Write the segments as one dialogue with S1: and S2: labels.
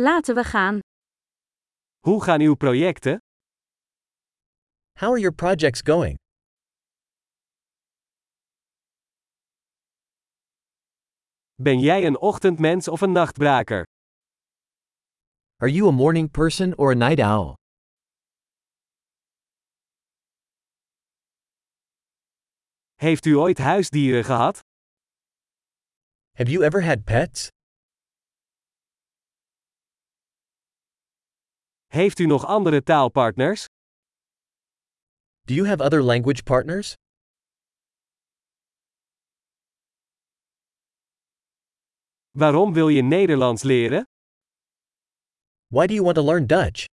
S1: Laten we gaan.
S2: Hoe gaan uw projecten?
S3: How are your projects going?
S2: Ben jij een ochtendmens of een nachtbraker?
S3: Are you a morning person or a night owl?
S2: Heeft u ooit huisdieren gehad?
S3: Have you ever had pets?
S2: Heeft u nog andere taalpartners?
S3: Do you have other language partners?
S2: Waarom wil je Nederlands leren?
S3: Why do you want to learn Dutch?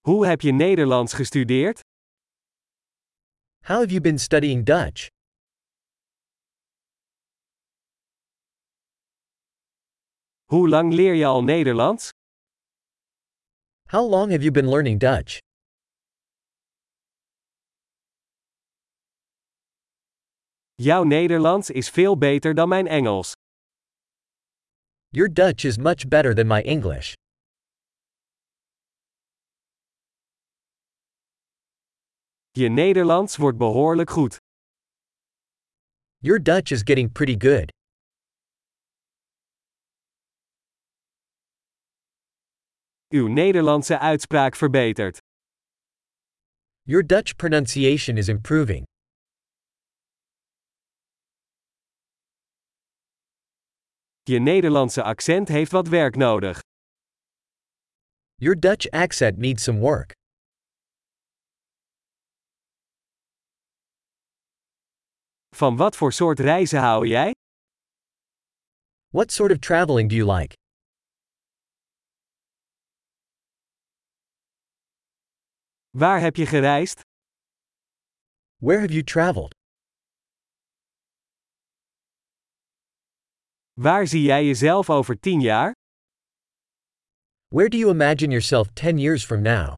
S2: Hoe heb je Nederlands gestudeerd?
S3: How have you been studying Dutch?
S2: Hoe lang leer je al Nederlands?
S3: How long have you been learning Dutch?
S2: Jouw Nederlands is veel beter dan mijn Engels.
S3: Your Dutch is much better than my English.
S2: Je Nederlands wordt behoorlijk goed.
S3: Your Dutch is getting pretty good.
S2: Uw Nederlandse uitspraak verbetert.
S3: Your Dutch pronunciation is improving.
S2: Je Nederlandse accent heeft wat werk nodig.
S3: Your Dutch accent needs some work.
S2: Van wat voor soort reizen hou jij?
S3: What sort of traveling do you like?
S2: Waar heb je gereisd?
S3: Where have you traveled?
S2: Waar zie jij jezelf over 10 jaar?
S3: Where do you imagine yourself 10 years from now?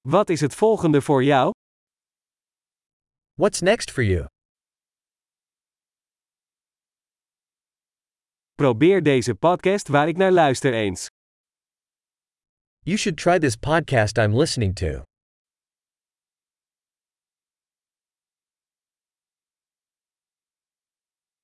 S2: Wat is het volgende voor jou?
S3: What's next for you?
S2: Probeer deze podcast waar ik naar luister eens.
S3: You should try this podcast I'm listening to.